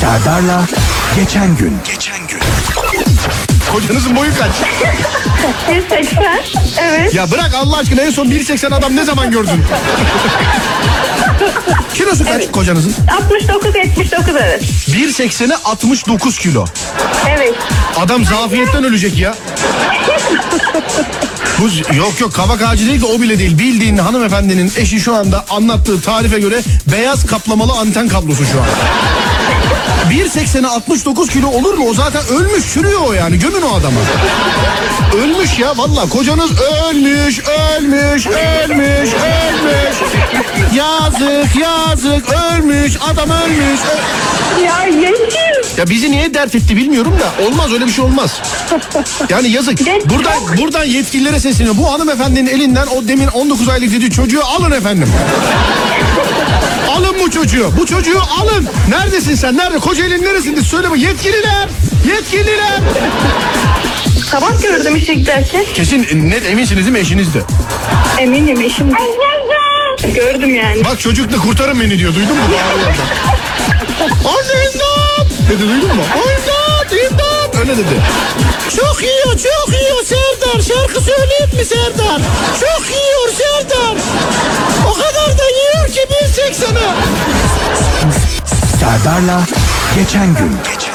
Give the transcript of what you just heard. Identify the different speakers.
Speaker 1: Serdar'la geçen gün. Geçen gün.
Speaker 2: Kocanızın boyu kaç?
Speaker 3: 180. Evet.
Speaker 2: Ya bırak Allah aşkına en son 1.80 adam ne zaman gördün? Kilosu kaç kocanızın?
Speaker 3: 69 79 evet.
Speaker 2: 1.80'e 69 kilo.
Speaker 3: Evet.
Speaker 2: Adam zafiyetten ölecek ya. Bu yok yok kavak ağacı değil de o bile değil. Bildiğin hanımefendinin eşi şu anda anlattığı tarife göre beyaz kaplamalı anten kablosu şu an. 1.80'e 69 kilo olur mu? O zaten ölmüş çürüyor o yani. Gömün o adamı. Ölmüş ya valla. Kocanız ölmüş, ölmüş, ölmüş, ölmüş. Yazık, yazık. Ölmüş, adam ölmüş. ö-
Speaker 3: Ya yeşil.
Speaker 2: ya bizi niye dert etti bilmiyorum da olmaz öyle bir şey olmaz. Yani yazık.
Speaker 3: Genç
Speaker 2: Buradan buradan yetkililere sesleniyor. Bu hanımefendinin elinden o demin 19 aylık dediği çocuğu alın efendim. alın bu çocuğu. Bu çocuğu alın. Neredesin sen? Nerede? Kocaeli'nin neresinde? Söyle bu yetkililer. Yetkililer.
Speaker 3: Sabah gördüm işe giderken.
Speaker 2: Kesin net eminsiniz değil mi eşinizde?
Speaker 3: Eminim işim. Gördüm yani.
Speaker 2: Bak çocukla kurtarın beni diyor. Duydun mu? Bağırıyor da. Anne imdat! Dedi duydun mu? İmdat! İmdat! Öyle dedi. Çok yiyor, çok yiyor Serdar. Şarkı söyleyeyim mi Serdar? Çok yiyor Serdar. O kadar da yiyor ki 1.80'e.
Speaker 1: Serdar'la geçen gün. Geçen